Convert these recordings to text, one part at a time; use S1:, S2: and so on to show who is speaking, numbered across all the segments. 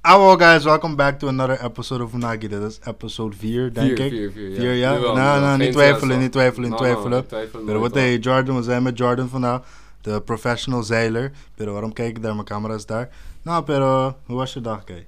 S1: Hallo guys, welkom back to another episode of Unagi. Dit is episode 4, denk
S2: Vier,
S1: ik.
S2: vier, vier, ja.
S1: Vier, ja?
S2: Jawel,
S1: nou,
S2: jawel.
S1: nou,
S2: Geen
S1: niet twijfelen,
S2: twijfel.
S1: niet twijfelen, niet
S2: Nou, nou,
S1: twijfelen.
S2: ik twijfel
S1: Pero
S2: nooit
S1: wat,
S2: al.
S1: hey, Jordan, we zijn met Jordan vandaag. De professional zeiler. Pero waarom kijk ik daar? Mijn camera is daar. Nou, pero, hoe was je dag, kijk?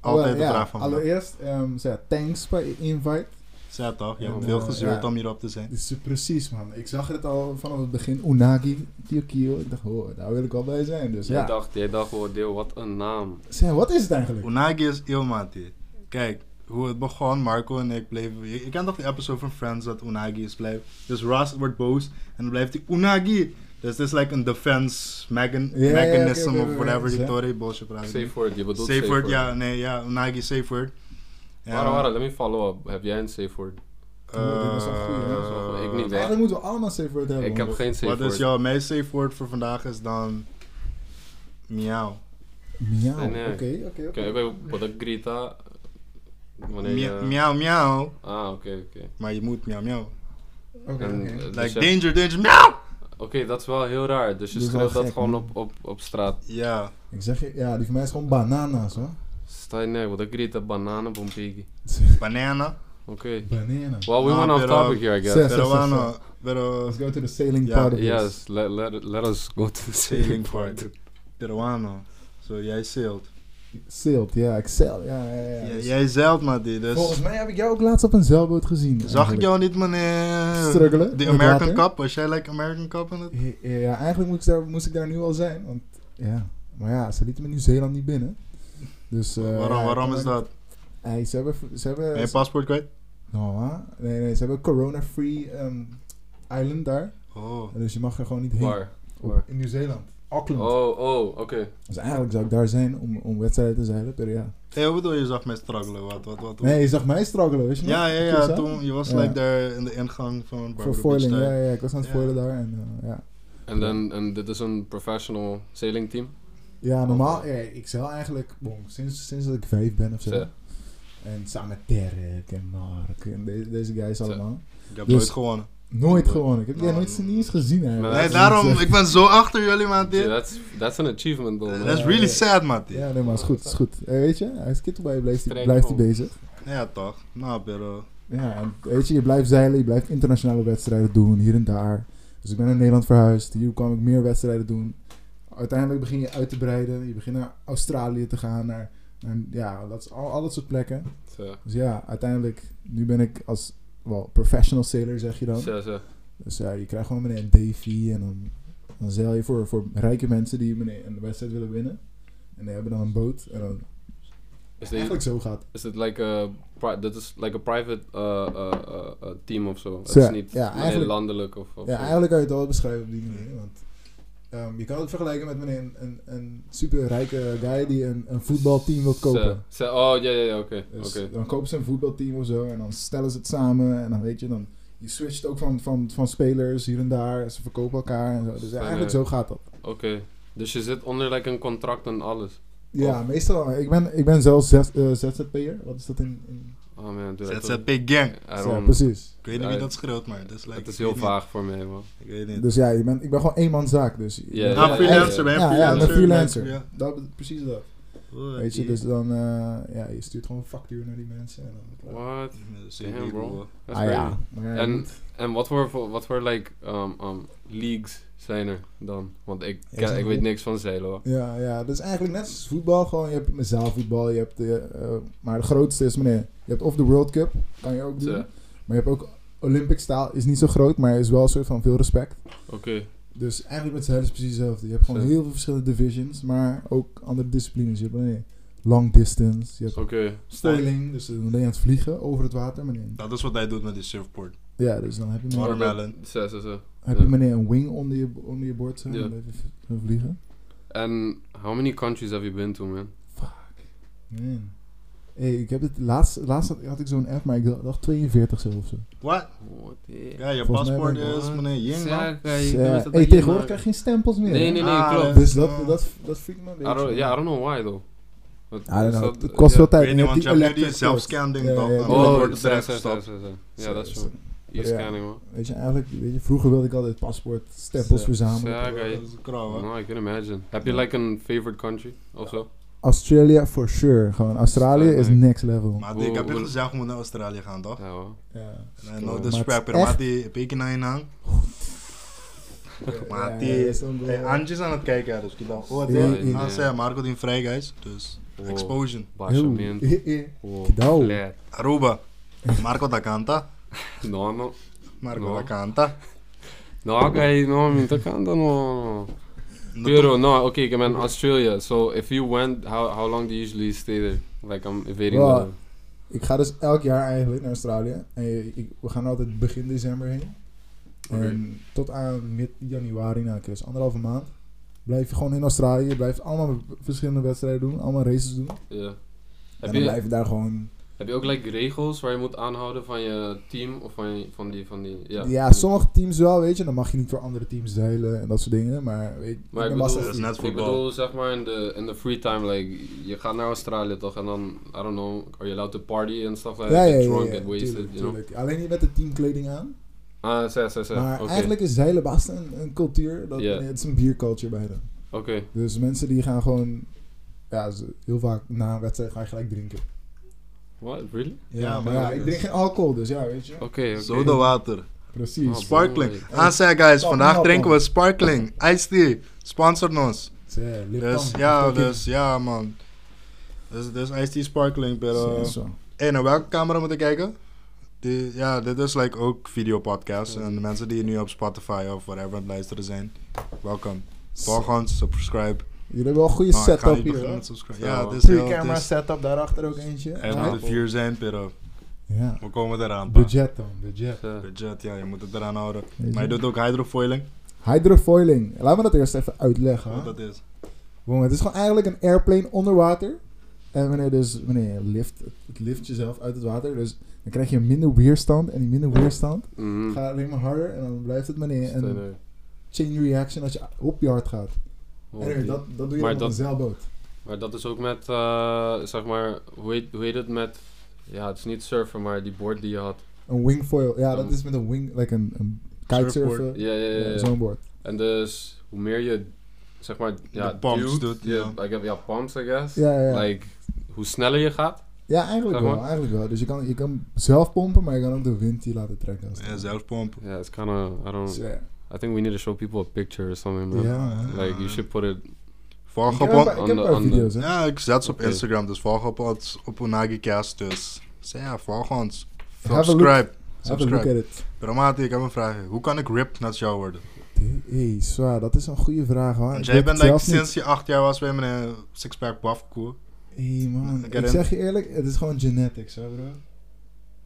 S1: Altijd
S3: Wel,
S1: de
S3: ja,
S1: vraag van vandaag.
S3: Allereerst, ehm, zeg, thanks voor je invite.
S1: Zet toch? Je
S3: Ja,
S1: hebt
S3: man.
S1: veel gezeurd
S3: Ja.
S1: om hierop te zijn.
S3: Dit is precies, man. Ik zag het al vanaf het begin. Unagi, Tokio. Ik dacht, oh, daar wil ik wel bij zijn. Dus
S2: Jij
S3: ja.
S2: dacht, jij dacht gewoon, deel, wat een naam.
S3: Zeg, wat is het eigenlijk?
S1: Unagi is Ilmati. Kijk, hoe het begon, Marco en ik bleven... Je, je kent toch die episode van Friends dat Unagi is blijven? Dus Ross wordt boos en dan blijft hij Unagi. Dus dit is like een defense mechan-
S3: Ja, ja,
S1: mechanism
S3: oké, oké,
S1: of
S3: oké,
S1: whatever
S3: dus,
S1: Ah, die
S3: ja.
S1: Tory bullshit praat.
S2: Safe word, je bedoelt
S1: Safe word, ja, nee, ja, Unagi safe word. Ja,
S2: Wara, wara, let me follow up. Heb jij een safe word?
S1: eh,
S3: Oh, dit is wel goed, ja, dat is
S2: wel goed. Ik niet, hè.
S3: Eigenlijk moeten we allemaal een safe word hebben.
S2: Ik
S3: man.
S2: heb geen safe
S1: Wat is
S2: word.
S1: jouw mijn safe word voor vandaag is dan... Miauw.
S3: Miauw.
S2: Nee, nee.
S3: Oké, oké,
S2: Oké,
S3: oké.
S2: oké, wat ik grita. Wanneer
S1: Mia-
S2: je...
S1: Miauw, miauw.
S2: Ah, oké, oké.
S1: Maar je moet miauw, miauw.
S3: Oké,
S2: En,
S3: oké.
S2: eh, dus
S1: Like
S2: je-
S1: danger, danger, miauw!
S2: Oké, dat is wel heel raar. Dus je
S3: Dat is
S2: schreeuwt
S3: wel
S2: dat
S3: gek,
S2: gewoon
S3: man.
S2: op, op, op straat.
S1: Ja.
S3: Ik zeg je, ja, die van mij is gewoon bananas, hoor.
S2: Sta je nee, wat ik grita, bananen, bompegi.
S1: Banana.
S2: Oké.
S3: Banana.
S2: Well, we
S1: Ah,
S2: went off
S1: pero-
S2: topic here, I guess.
S3: Zes.
S1: Pero
S3: yes, yes.
S1: bueno, pero
S3: Let's go to the sailing
S1: Ja,
S3: part of this.
S2: Yes, let, let, let us go to the
S1: Sailing
S2: sailing
S1: part.
S2: part.
S1: peruano. Zo, jij zeilt.
S3: Sailed, ja, ik sail. Ja, ja, ja.
S1: J-
S3: Dus
S1: jij zeilt, Matti. Dus
S3: Volgens mij heb ik jou ook laatst op een zeilboot gezien.
S1: zag ik
S3: eigenlijk.
S1: jou niet, meneer?
S3: struggelen?
S1: De
S3: met
S1: American
S3: water.
S1: Cup? Was jij like American Cup aan het?
S3: Ja, Ja, eigenlijk moest ik, daar, moest ik daar nu al zijn. Want, ja. Maar ja, ze lieten me Nieuw-Zeeland niet binnen. Dus, eh,
S1: waarom
S3: ja,
S1: waarom is
S3: ik-
S1: dat?
S3: Hey, ze hebben... Ze hebben
S1: Ben je paspoort kwijt?
S3: Nou, hè? nee, nee, ze hebben corona-free ehm, island daar.
S1: Oh.
S3: Dus je mag er gewoon niet heen.
S2: Waar?
S3: Op-
S2: Waar?
S3: In Nieuw-Zeeland. Auckland.
S2: Oh, oh, oké.
S3: Dus eigenlijk zou ik daar zijn om, om wedstrijden te zeilen. per ja.
S1: Hey, hoe bedoel je, je zag mij struggelen? Wat, wat, wat?
S3: Nee, je zag mij struggelen, weet je nog?
S1: Ja, ja,
S3: Op
S1: ja.
S3: Curaçao?
S1: Toen, je was
S3: Ja.
S1: like daar in de ingang van
S3: Voor
S1: Barbara Beach
S3: foiling, ja,
S1: daar.
S3: ja, ik was aan het
S1: Ja.
S3: foilen daar. En, eh, ja.
S2: En dan, en dit is een professional sailing team?
S3: ja, normaal, ja, ik zeil eigenlijk bon, sinds, sinds dat ik vijf ben of zo.
S2: Zo.
S3: En samen met Terk en Mark en deze, deze guys allemaal.
S1: Ik heb
S3: Dus-
S1: nooit gewonnen.
S3: Nooit gewonnen. Ik heb jij
S1: Nou,
S3: nooit niet eens gezien eigenlijk.
S2: Nee,
S1: Nee,
S2: dat is
S1: daarom, ik ben zo achter jullie,
S2: See,
S1: Matti.
S2: that's, that's an achievement, though. man.
S1: Eh, That's really
S3: ja.
S1: sad, Matti.
S3: Ja, nee, maar is goed, is goed. Eh, weet je, hij is kittelbij, blijft, hij-
S2: Strijk
S3: blijft hij
S2: gewoon.
S3: bezig.
S1: Ja, toch? Nou, pero...
S3: Ja, en weet je, je blijft zeilen, je blijft internationale wedstrijden doen, hier en daar. Dus ik ben naar Nederland verhuisd, hier kwam ik meer wedstrijden doen. Uiteindelijk begin je uit te breiden, je begint naar Australië te gaan, naar, naar ja, dat is al, al dat soort plekken.
S2: Zo.
S3: Dus ja, uiteindelijk, nu ben ik als wel, professional sailor, zeg je dan.
S2: Zo, zo.
S3: Dus ja, je krijgt gewoon meneer een Davy en dan, dan zeil je voor, voor rijke mensen die meneer een wedstrijd willen winnen. En die hebben dan een boot en dan
S2: Is
S3: eigenlijk
S2: dit
S3: zo gaat.
S2: is dit like a pri- dit is like a private eh, eh, eh, eh, team of zo? Het
S3: Zo,
S2: is niet
S3: ja,
S2: meneer
S3: eigenlijk-
S2: landelijk of, of
S3: Ja,
S2: zo.
S3: eigenlijk kan je het wel beschrijven op die manier. Want ehm, je kan het vergelijken met meneer een, een, een super rijke guy die een, een voetbalteam wil
S2: Zo,
S3: kopen.
S2: zo. oh, ja, ja, ja, oké.
S3: Dus
S2: oké.
S3: dan kopen ze een voetbalteam of zo en dan stellen ze het samen en dan weet je, dan je switcht ook van, van, van spelers hier en daar. Ze verkopen elkaar en zo. Dus
S2: Fijn,
S3: eigenlijk
S2: hè?
S3: zo gaat dat.
S2: Oké. Dus je zit onder like, een contract en alles.
S3: Ja, meestal. wel. Ik ben, ik ben zelf zes- eh, ZZP'er. Wat is dat in... in
S2: Oh man, dude. I don't-
S1: ZZP gang.
S2: I
S3: ja,
S2: don't-
S3: precies.
S1: Ik weet niet
S2: Ja,
S1: wie
S2: het-
S1: dat schreeuwt, maar dat is like...
S2: Het is
S1: ik
S2: heel
S1: weet niet.
S2: vaag voor mij, man.
S1: Ik weet niet.
S3: Dus ja, je bent, ik ben gewoon eenmanszaak. Dus,
S2: Ja,
S3: ja,
S1: Ah,
S2: ja,
S1: freelancer, ben je
S3: ja, ja, ik ben
S1: freelancer?
S3: freelancer.
S1: Ja.
S3: Dat, bet- precies dat. Weet je, dus dan... eh, ja, je stuurt gewoon een factuur naar die mensen. En dan,
S2: What? Damn, bro. That's
S3: ah ja.
S2: crazy.
S3: Maar ja,
S2: En-
S3: goed.
S2: En wat voor, voor- wat voor like, um, um, leagues zijn er dan? Want ik,
S3: Er
S2: ken-
S3: zijn
S2: ik weet
S3: wel-
S2: niks van zeilen, hoor.
S3: ja, ja, dat is eigenlijk net als voetbal. Gewoon, je hebt zaalvoetbal, je hebt... De, eh, maar de grootste is, meneer, je hebt of de World Cup, kan je ook doen.
S2: Zo.
S3: Maar je hebt ook Olympic staal, is niet zo groot, maar is wel een soort van veel respect.
S2: Oké.
S3: Dus eigenlijk met z'n is precies hetzelfde. Je hebt gewoon
S2: Zo.
S3: heel veel verschillende divisions, maar ook andere disciplines. Je hebt alleen long distance, je hebt
S2: Oké.
S3: foiling, dus dan ben je aan het vliegen over het water. Meneer.
S1: Dat is wat hij doet met die surfboard.
S3: Ja, dus dan heb je meneer,
S1: Watermelon.
S2: Zo, zo, zo.
S3: heb
S2: Ja.
S3: je meneer een wing onder je, onder je bord, zo, en
S2: Ja.
S3: dan blijf je v- zo vliegen.
S2: And how many countries have you been to, man?
S3: Man. Hey, ik heb het laatst, laatst had, had ik zo'n app, maar ik dacht 42 zelf of zo.
S1: Wat?
S2: What the...
S1: Ja, je
S3: Volgens mij
S1: paspoort
S3: ben ik-
S1: is meneer Ying, man.
S2: Zeker,
S3: Dus,
S2: je
S3: eh,
S2: moet dat
S3: hey,
S2: dan
S3: tegenwoordig krijg
S2: maken.
S3: je geen stempels meer.
S2: Nee,
S3: hè?
S2: nee, nee,
S1: Ah,
S2: klopt.
S1: dat-
S3: Dus dat,
S1: Ah.
S3: dat, dat freakt me een beetje.
S2: I don't, ja, I don't know why, though. Wat-
S3: I don't
S2: is
S3: know,
S2: dat-
S3: het kost
S2: ja.
S3: veel tijd.
S1: Ik weet niet,
S3: En
S1: want je hebt nu die
S3: electric cords.
S1: zelfscan-ding
S3: Ja,
S1: toch?
S3: ja,
S1: En
S3: ja.
S1: dan
S2: Oh,
S1: wordt
S2: ja,
S1: het
S2: zo,
S1: eruit
S2: zo, zo,
S1: gestopt.
S2: zo. Ja, dat is
S3: Zo,
S2: zo. E-scanning, man.
S3: Dus, eh, Weet je, eigenlijk, weet je, vroeger wilde ik altijd paspoort, stempels
S1: Zo.
S3: verzamelen.
S2: Zeker.
S3: Oh,
S1: Dat is een krauw, hè?
S2: No, I can imagine. Heb je like een favorite country of zo?
S3: Australia for sure. Gewoon Australië is
S2: Frankrijk.
S3: next level.
S1: Mate, ik heb
S2: Wow.
S1: je gezegd, we moeten naar Australië gaan, toch?
S2: Ja, hoor.
S3: Ja.
S1: En no
S2: Maar
S1: disrespect,
S3: het is
S1: maar die peken naar je naam. Maar die
S3: is dan wel-
S1: Hey, Antje is aan het kijken, ja, dus ik dacht, oh,
S3: Ja,
S1: dit
S3: ja.
S1: Ah, zei Marco die vrij, guys. Dus,
S2: Wow.
S1: explosion.
S3: Heel-
S2: Baixamento. Wow.
S3: Que da o-
S2: Flare.
S1: Aruba. Marco da Canta.
S2: Não, não.
S1: Marco
S2: No.
S1: da Canta.
S2: No, guys, no, me tocando no. Pero no, okay, I'm in Australia. So if you went, how how long do you usually stay there? Like I'm evading
S3: Well,
S2: the.
S3: Ik ga dus elk jaar eigenlijk naar Australië. En je- ik- we gaan altijd begin december heen. En tot aan mid-januari, nou, dus anderhalve maand. Blijf je gewoon in Australië. Je blijft allemaal verschillende wedstrijden doen, allemaal races doen.
S2: Yeah.
S3: en
S2: Heb
S3: dan
S2: je,
S3: blijf je daar gewoon.
S2: heb je ook like, regels waar je moet aanhouden van je team of van, je- van die van die ja.
S3: Ja, sommige teams wel, weet je. Dan mag je niet voor andere teams zeilen en dat soort dingen. Maar weet je,
S2: Maar ik
S3: de
S2: bedoel- eh,
S3: massa-
S1: Dat is net
S2: Ik
S1: voetbal.
S2: bedoel zeg maar in de in de free time like je gaat naar Australië toch en dan I don't know are you allowed to party and stuff like
S3: ja,
S2: that
S3: ja, ja,
S2: get
S3: ja,
S2: drunk
S3: ja,
S2: get wasted
S3: tuurlijk,
S2: you know
S3: tuurlijk. Alleen niet met de teamkleding aan.
S2: ah zeg zeg zeg
S3: maar
S2: oké
S3: eigenlijk is zeilen best een, een cultuur. Dat,
S2: Ja.
S3: Het is een bierculture bij hen.
S2: oké
S3: Dus mensen die gaan gewoon... Ja, ze- heel vaak na een wedstrijd ga je gelijk drinken.
S2: what really
S3: Ja,
S1: Ja,
S3: maar
S1: maar
S3: ja,
S1: dat
S3: ik
S1: is-
S3: drink geen alcohol, dus ja, weet je.
S2: oké oké
S1: Soda water.
S3: Precies.
S2: Oh,
S1: Sparkling.
S2: boy.
S1: Ah, zei guys,
S3: Stop,
S1: vandaag
S3: stop,
S1: drinken
S3: man.
S1: we sparkling. Ice tea. Sponsor ons.
S3: Zee, lipton,
S1: Dus, ja,
S3: fucking-
S1: dus, ja, man. Dus, dus ice tea sparkling,
S3: Zee,
S1: pero...
S3: zo.
S1: Hey, naar welke camera moet ik kijken? Die, ja, dit is like ook videopodcast. En de mensen die nu op Spotify of whatever aan het luisteren zijn, welkom. Volg ons, subscribe.
S3: Jullie hebben wel een goede
S1: Nou, ik ga
S3: setup
S1: niet
S3: hier,
S1: beginnen
S3: hoor.
S1: met subscribe.
S2: Ja,
S1: Ja,
S2: man.
S1: dit is
S3: Goede
S1: heel...
S3: camera
S1: dit is-
S3: setup, daarachter ook eentje.
S1: En
S3: Ja.
S1: aan de vier zijn, pero
S3: Ja.
S1: we komen eraan. pa.
S3: Budget dan, budget.
S2: Zeg.
S1: Budget, ja, je moet het eraan houden.
S3: Weet
S1: Maar je
S3: je.
S1: doet ook hydrofoiling.
S3: Hydrofoiling. Laten we dat eerst even uitleggen.
S1: Wat
S3: hè.
S1: Oh, dat is.
S3: Wow, het is gewoon eigenlijk een airplane onder water. En wanneer, dus, wanneer je lift, het lift jezelf uit het water, dus dan krijg je minder weerstand. En die minder weerstand
S2: Mhm.
S3: gaat alleen maar harder en dan blijft het maar neer. En
S2: Stijler.
S3: chain reaction als je op je hart gaat.
S2: Oh,
S3: En
S2: die-
S3: dat, dat doe je
S2: Maar
S3: met
S2: dat-
S3: een zeilboot.
S2: Maar dat is ook met, eh, zeg maar, hoe heet, hoe heet het met, ja, het is niet surfen, maar die board die je had.
S3: Een wingfoil. Ja, dat
S2: Een-
S3: is met een wing, like een, een kitesurfen.
S2: Ja, Mm. ja, ja.
S3: Ja,
S2: ja.
S3: Zo'n board.
S2: En dus, hoe meer je, zeg maar, ja,
S1: De pumps
S2: duwt,
S1: doet,
S2: je-
S1: ja.
S2: Like, ja, pumps, I guess.
S3: Ja, ja, ja.
S2: Like, hoe sneller je gaat.
S3: ja eigenlijk
S2: Zeg
S3: wel.
S2: maar.
S3: Eigenlijk wel. Dus je kan, je kan zelf pompen, maar je kan ook de wind die laten trekken. als het
S1: En
S3: ware.
S1: zelfpomp.
S2: Ja, it's kind of, I
S3: Dus
S2: don't,
S3: ja.
S2: I think we need to show people a picture or something, man.
S3: Ja, hè.
S2: Like, you should put it,
S3: Ik
S1: Volg
S3: heb
S1: op
S3: een
S1: ons.
S3: paar- ik heb een
S2: Ander-
S3: paar
S2: ander-
S3: video's, hè.
S1: Ja, ik zet ze op
S2: Oké.
S1: Instagram, dus volg op ons op Unagi Cast. Dus Zeg, ja, volg ons.
S3: Have a look.
S1: Subscribe.
S3: Have a look at
S1: Subscribe.
S3: it.
S1: Dramati, ik heb een vraag. Hoe kan ik ripped naar jou worden?
S3: Hé, zwaar, dat is een goede vraag, hoor.
S1: Want
S3: Ik
S1: jij
S3: weet
S1: bent
S3: het
S1: like,
S3: zelf niet.
S1: sinds je acht jaar was bij mijn sixpack buff cool.
S3: Hé, man.
S1: Ik
S3: Ik
S1: herinner-
S3: zeg je eerlijk, het is gewoon genetics, hè, bro.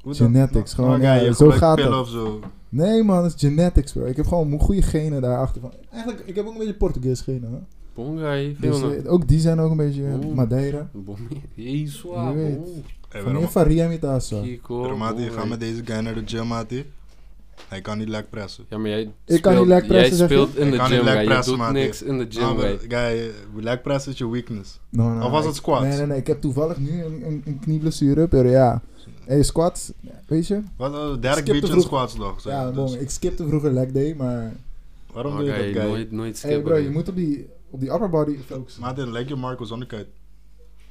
S1: Hoe dan? Nou,
S3: Genetics, gewoon,
S1: nou,
S3: ja,
S1: je
S3: zo
S1: gebruikt
S3: gaat
S1: pillen
S3: dat.
S1: of zo.
S3: Nee, man, het is genetics, bro. Ik heb gewoon mo- goede genen daarachter. Van. Eigenlijk, ik heb ook een beetje Portugees genen, hè.
S2: bongai,
S3: Dus
S2: filmen.
S3: eh, ook die zijn ook een beetje eh,
S2: Oeh.
S3: Madeira.
S2: Bongai, jezus, wow,
S3: weet.
S2: oh.
S1: Hey,
S3: Van
S1: waarom?
S3: hier Faria met Asa.
S2: Kiko,
S1: Dramati, ga
S2: bongai.
S1: met deze guy naar de gym, Mati. Hij kan niet lek pressen.
S2: Ja, maar jij
S3: Ik kan niet
S2: speelt-
S3: leg pressen,
S2: Jij
S3: zeg je?
S2: speelt in
S1: Ik
S2: de
S1: kan niet
S2: gym,
S1: leg
S2: guy. Je
S1: pressen,
S2: doet
S1: man.
S2: niks in de
S1: Ah,
S2: gym,
S1: maar,
S2: guy.
S1: guy, leg pressen is je weakness.
S3: No, no,
S1: Of was
S3: Nou, ik-
S1: het squats?
S3: Nee, nee, nee. Ik heb toevallig nu een, een, een knieblessure, per ja. Hé, hey, squats, weet je?
S1: Wat, uh, Derek
S3: Skip de
S1: Beach en
S3: vroeg-
S1: squats nog. zeg.
S3: ja,
S1: Dus
S3: bon, ik skipte vroeger leg day, maar...
S1: Waarom
S2: Oh,
S1: doe je
S2: guy,
S1: dat, guy?
S2: Nooit, nooit
S3: Hé, hey,
S2: skippen.
S3: bro, je
S2: guy.
S3: moet op die, op die upper body focussen.
S1: Maat, dan leg je Marco zonnekuit.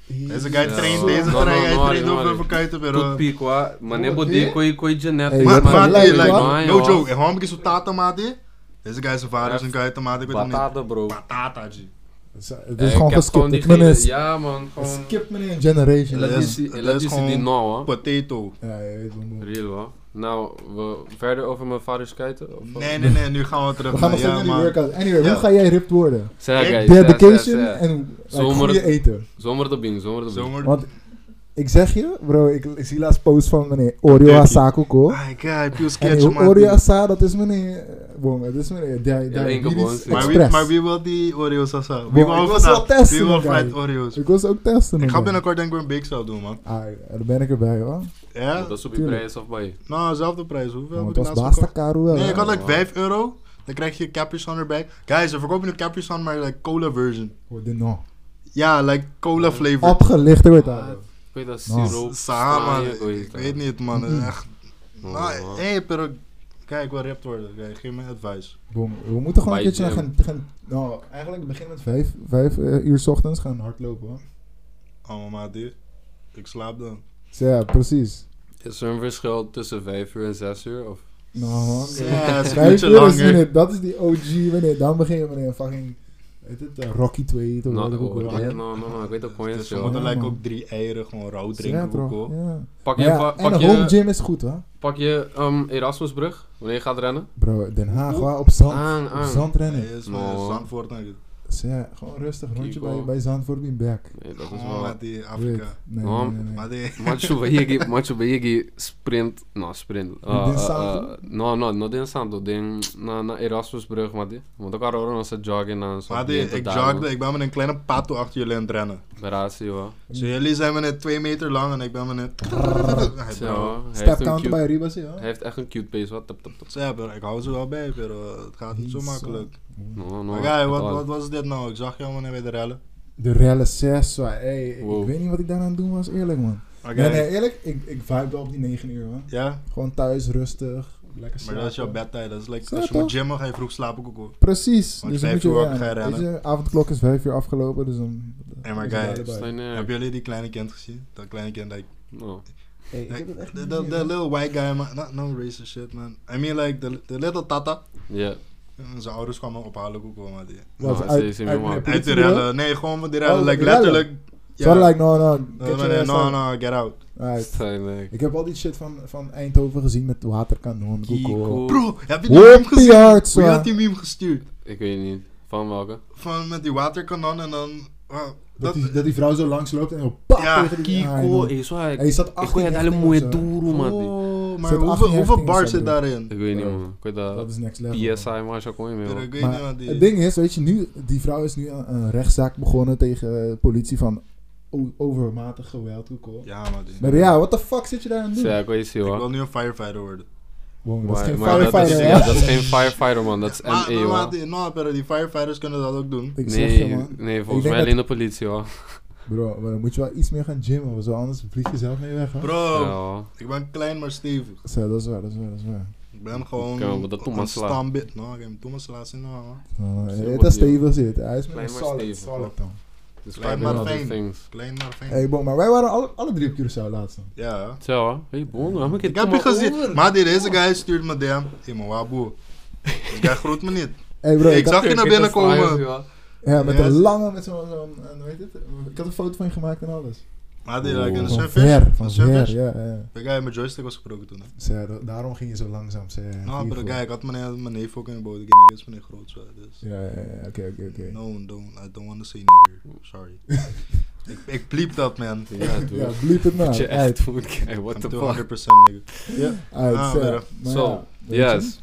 S1: Deze
S3: guy
S1: guy
S2: Ja,
S1: traint,
S2: man.
S1: deze
S2: No, no,
S1: traint, hij
S2: no,
S1: traint
S2: no,
S1: ook
S2: no.
S1: even kuiten,
S2: Tudo
S1: pero...
S2: pico, ah, mané
S3: Pô,
S2: bodê,
S3: e-
S2: coi, coi
S3: Ei,
S2: genética.
S1: Maar,
S3: wat
S1: maat,
S3: gelijk,
S1: hey, like, é
S3: man.
S1: no joke, en waarom ik zo tata, maat, hè? Deze guy tá, zijn vader
S2: Ja,
S1: is een kuiten, maat, ik weet het niet.
S2: Batata, bro. É,
S1: Patata, G.
S3: Het is, het
S2: Eh,
S3: is gewoon geskipt.
S2: die
S3: Ik ben
S2: gele-
S3: eens-
S2: Ja, man, gewoon...
S3: Skip meneer een generation.
S1: Dat
S2: Laat
S1: is-
S2: je
S1: Yes.
S2: zien-
S1: dat
S2: laat
S1: is
S2: je zien die
S1: gewoon-
S2: nou, hoor.
S1: Potato.
S3: Ja, je weet wel, man.
S2: Real, hoor. Nou, we verder over mijn vaders kuiten? of wat?
S1: Nee, nee, nee, nu gaan we terug
S3: We gaan nog
S1: ja,
S3: steeds naar die
S1: man.
S3: workout. Anyway,
S1: Ja.
S3: hoe ga jij ripped worden?
S2: Zeg, guys.
S3: Dedication
S2: zeg, zeg, zeg.
S3: en like,
S2: Zomer-
S3: goede eten.
S2: Zomer de bing, zomer de bing.
S1: Zomer...
S3: Want ik zeg je, bro, ik, ik zie laatst post van meneer Oreo
S1: Turkey.
S3: Asakoko.
S1: Ai, guy, piel
S3: En
S1: sketch,
S3: die É, Oreo
S1: maat.
S3: Asa, dat is meneer... eh, Bong, dat is meneer... Di-
S2: enkel
S3: Diabetes
S2: bonus.
S1: Maar wie, maar
S3: Express.
S1: wie wil die Oreos, Sasa?
S3: Bro,
S1: Wie wil
S3: ik was wel
S1: vandaag?
S3: testen,
S1: Wie wil
S3: guy.
S1: fried Oreos?
S3: Ik wil ze ook testen.
S1: Ik ga
S3: man.
S1: binnenkort denk ik een bake sale doen, man.
S3: Ah, daar ben ik erbij, hoor.
S1: Ja?
S2: Dat is op je
S3: tuurlijk.
S2: prijs of bij
S1: Nou, zelfde prijs. Hoeveel heb
S3: Want het
S1: ik
S3: was
S1: laatst
S3: Basta
S1: gekocht?
S3: Caro wel.
S1: Nee,
S3: hè.
S1: ik had like
S2: Ja.
S1: 5 euro. Dan krijg je Capri Sun erbij. Guys, we verkopen nu Capri Sun, maar like cola version.
S3: Oh, dit nog.
S1: Ja, like cola
S2: Ja.
S1: flavor.
S3: Opgelicht wordt
S2: Ah,
S3: dat.
S2: Ik weet dat
S3: Nou.
S2: siroop.
S1: Sama,
S2: saaien,
S1: man.
S2: coi,
S1: Ik
S2: daar.
S1: weet niet, man.
S3: Mm-mm.
S1: Echt.
S2: Oh,
S1: Nou,
S2: man.
S1: hé, pero... Kijk, ik wil rapt worden. Kijk, geef me advice.
S3: Bom, we moeten gewoon een
S2: Bij
S3: keertje
S2: Jam.
S3: eh, gaan, gaan... Nou, eigenlijk beginnen met vijf, vijf eh, uur 's ochtends gaan hardlopen. hoor.
S1: allemaal maat, Oh, ik slaap dan.
S3: Ja, precies.
S2: Is er een verschil tussen 5 uur en 6 uur? Of?
S3: No, Nou, man.
S1: Ja, het is een
S3: Vijf
S1: beetje
S3: uur is
S1: langer.
S3: wanneer- dat is die OG, wanneer, dan begin je wanneer fucking, weet het, eh, Rocky 2, toch?
S2: Nou,
S3: weet ik ook wel.
S2: oh,
S1: hè?
S2: nou, nou, nou, ik weet ook gewoon
S1: Dus we
S3: zo.
S1: moeten
S3: Ja,
S1: lijken
S3: man.
S1: ook drie eieren gewoon rauw
S3: Ja,
S1: drinken.
S3: toch?
S1: ook, hoor.
S3: Ja.
S2: Pak je,
S3: Maar ja,
S2: pa-
S3: en
S2: pak
S3: de home
S2: je,
S3: gym is goed, hoor.
S2: pak je ehm, Erasmusbrug wanneer je gaat rennen? Ah,
S3: Bro, Den Haag, waar op zand,
S2: Aan,
S3: op
S2: aan.
S3: zand rennen.
S1: Nee, is
S2: No.
S1: wel Zandvoort. en-
S3: Dus ja, gewoon rustig, rondje
S2: Kiko.
S3: bij, bij Zandvoort in back.
S2: Nee, dat is
S1: Gewoon
S2: wel...
S1: met Oh, die
S3: Weet.
S1: Afrika.
S3: Nee,
S2: Oh,
S3: nee, nee, nee.
S1: Maar die-
S2: Machu Bayegi, Machu Bayegi sprint, nou sprint.
S3: Din
S2: Uh, uh,
S3: Santo?
S2: no, no, no din Santo, din na, na Erasmusbrug, mati. Want ook al horen als ze joggen en zo.
S1: Maar die, ik jogde, ik ben met een kleine pato achter jullie aan het rennen.
S2: Beratie hoor.
S1: Dus jullie zijn met een twee meter lang en ik ben met een... Hey,
S2: Zo,
S1: bro.
S2: hoor. hij,
S3: Step
S2: heeft een
S3: down to
S2: cute,
S3: bij Ribas, ja.
S2: hij heeft echt een cute pace, wat? Tap, tap, tap.
S1: Ja, bro, ik hou ze wel bij, bro. het gaat niet zo
S3: Zo.
S1: makkelijk.
S2: No, no,
S1: Maar guy,
S2: at
S1: wat,
S2: all.
S1: wat was dit nou? Ik zag jou wanneer bij de rellen.
S3: De rellen 6, zwaar. Hey, ik-
S2: Wow.
S3: ik weet niet wat ik daaraan aan doen was, eerlijk, man.
S1: Maar
S3: Nee,
S1: guy,
S3: nee, eerlijk, ik, ik vibe wel op die 9 uur, man.
S1: Ja,
S3: Gewoon thuis, rustig, lekker
S1: maar
S3: slapen.
S1: dat is jouw bedtijd. Dat is like,
S3: Zo,
S1: als je moet
S3: toch?
S1: gymmen, ga je vroeg slapen ook hoor.
S3: Precies.
S1: Want vijf
S3: dus dan moet je
S1: uur
S3: weer
S1: ook ga je
S3: aan. Weet
S1: rennen.
S3: je, avondklok is 5 uur afgelopen, dus dan...
S1: Hey, maar
S3: dan
S1: guy,
S3: is het
S2: Sta je
S3: erbij.
S2: neer.
S1: Hebben jullie die kleine kind gezien? Dat kleine kind, like,
S2: eh, No.
S3: Hey, ik heb het
S1: like
S3: echt
S1: the,
S3: niet
S1: the,
S3: meer,
S1: the
S3: man.
S1: little white guy, man. Not, no racist shit, man. I mean, like, the, the little tata.
S2: Ja.
S1: En Zijn ouders kwamen ophalen ook hoor, man. die-
S3: Wat,
S2: Nou,
S3: uit-
S2: ze is in mijn
S3: uit- uit-
S2: man.
S1: Uit de
S3: Politiebureau?
S1: rellen. Nee, gewoon met die rellen.
S3: Oh,
S1: like,
S3: die rellen.
S1: letterlijk.
S3: Zo like, no, no, get
S1: No,
S3: your
S1: no,
S3: ass
S1: no,
S3: out.
S1: no, get out.
S3: Alright.
S2: Stijnlijk.
S3: Ik heb al die shit van, van Eindhoven gezien met waterkanon.
S2: Kiko.
S3: Kiko.
S1: Bro, heb je die meme
S3: Hoppie
S1: gezien?
S3: hard,
S1: Wie
S3: zwaar.
S1: had die meme gestuurd?
S2: Ik weet niet. Van welke?
S1: Van met die waterkanon en dan... Wow,
S3: Dat
S1: dat,
S3: die, dat die vrouw zo langs loopt en zo pap
S1: Ja,
S3: tegen die Ah, joh.
S2: Oh, is waar.
S3: Hij zat
S2: Ik
S3: 18
S2: gooi het hele
S3: heftig of
S2: mooie
S3: zo.
S2: doel, man.
S1: oh, maar
S3: Zet
S1: hoeveel,
S3: 18
S1: hoeveel
S3: heftingen
S1: bar
S3: zijn
S1: zit
S3: er.
S1: daarin?
S2: Ik weet niet,
S3: Bro.
S2: man. Ik weet
S3: Dat
S2: dat.
S3: is next level. man.
S2: PSI, maar zo kon je
S1: Ik
S2: mee,
S1: weet
S3: Maar
S1: niet wat die...
S3: Het ding is, weet je, nu, die vrouw is nu een, een rechtszaak begonnen tegen eh, politie van o- overmatig geweld. Hoe cool.
S1: Ja, man. die-
S3: Maar ja, what the fuck zit je daar aan te doen?
S2: Ja, ik weet het
S1: Ik
S2: hoor.
S1: wil nu een firefighter worden.
S3: Wow, dat is
S2: Maar-
S3: geen
S2: maar dat
S3: firefighter,
S2: is-
S3: hè?
S2: ja, dat is geen firefighter, man. Dat is
S1: Maar,
S2: ME,
S1: maar, maar
S2: hoor.
S1: die, no, pero die firefighters kunnen dat ook doen.
S3: Ik zeg je,
S2: Nee,
S3: man.
S2: nee,
S3: Ik
S2: volgens
S3: denk
S2: mij
S3: dat-
S2: alleen de politie, hoor.
S3: Bro, maar dan moet je wel iets meer gaan gymmen, want zo anders vlieg je zelf mee weg, hè?
S1: Bro,
S2: Ja, hoor.
S1: ik ben klein maar stevig.
S3: Zo, dat is waar, dat is waar, dat is waar.
S1: Ik ben gewoon
S2: Oké, maar dat doet maar
S1: een nou,
S2: slaan.
S1: stambit. No, ik heb toen maar slaan zien, no, man.
S3: Uh,
S2: Zo
S3: het
S2: wordt
S3: is
S2: die-
S3: stevig zit. Hij is
S2: Klein
S3: met
S2: maar
S3: solid,
S2: stevig,
S3: solid dan.
S1: Klein
S2: Describe
S1: maar
S2: other
S1: fijn.
S2: things.
S1: Klein maar fijn.
S3: Hey, bon, maar wij waren alle, alle drie op Curaçao laatst. man.
S1: Ja, hè.
S2: Zo, hoor. Hey, bon, waarom
S1: ik heb je
S2: maar
S1: gezien.
S2: over?
S1: Maar die, deze guy stuurt me DM. Hé, maar waboe. Dus jij groet me niet.
S3: Hey bro,
S1: Ik
S3: ik
S1: zag-
S3: had,
S1: je naar
S2: Ik
S1: binnen
S2: weet dat
S1: komen?
S2: saai is, joh.
S3: ja, met
S1: Yes.
S3: een lange, met zo'n, zo'n, eh, hoe heet het? Ik had een foto van je gemaakt en alles.
S1: Maar die, eh, like, een
S2: Oh.
S3: van
S1: sunfish.
S3: ver, van
S1: Een sunfish.
S3: ver, ja, ja.
S1: De guy, mijn joystick was gebroken toen. hè.
S3: Zij, da- daarom ging je zo langzaam. Zij,
S1: Nou,
S3: hiervoor.
S1: maar guy, ik had mijn, mijn neef ook in de boot. Ik ken niks van een groot zo, dus.
S3: Ja, ja, ja, oké, oké, oké.
S1: No, don't, I don't want to say nigger. Sorry. ik, ik bliep dat, man.
S2: Ja,
S3: Ja,
S2: dude.
S3: bliep het
S2: Wat je
S3: maar. Uit,
S2: echt moet kijken. é, What
S1: I'm
S2: the
S1: 200%
S2: fuck?
S1: nigger.
S3: uit,
S1: Ah,
S3: zij.
S1: verder.
S3: Maar
S2: Zo,
S3: ja, weet je?
S2: Yes.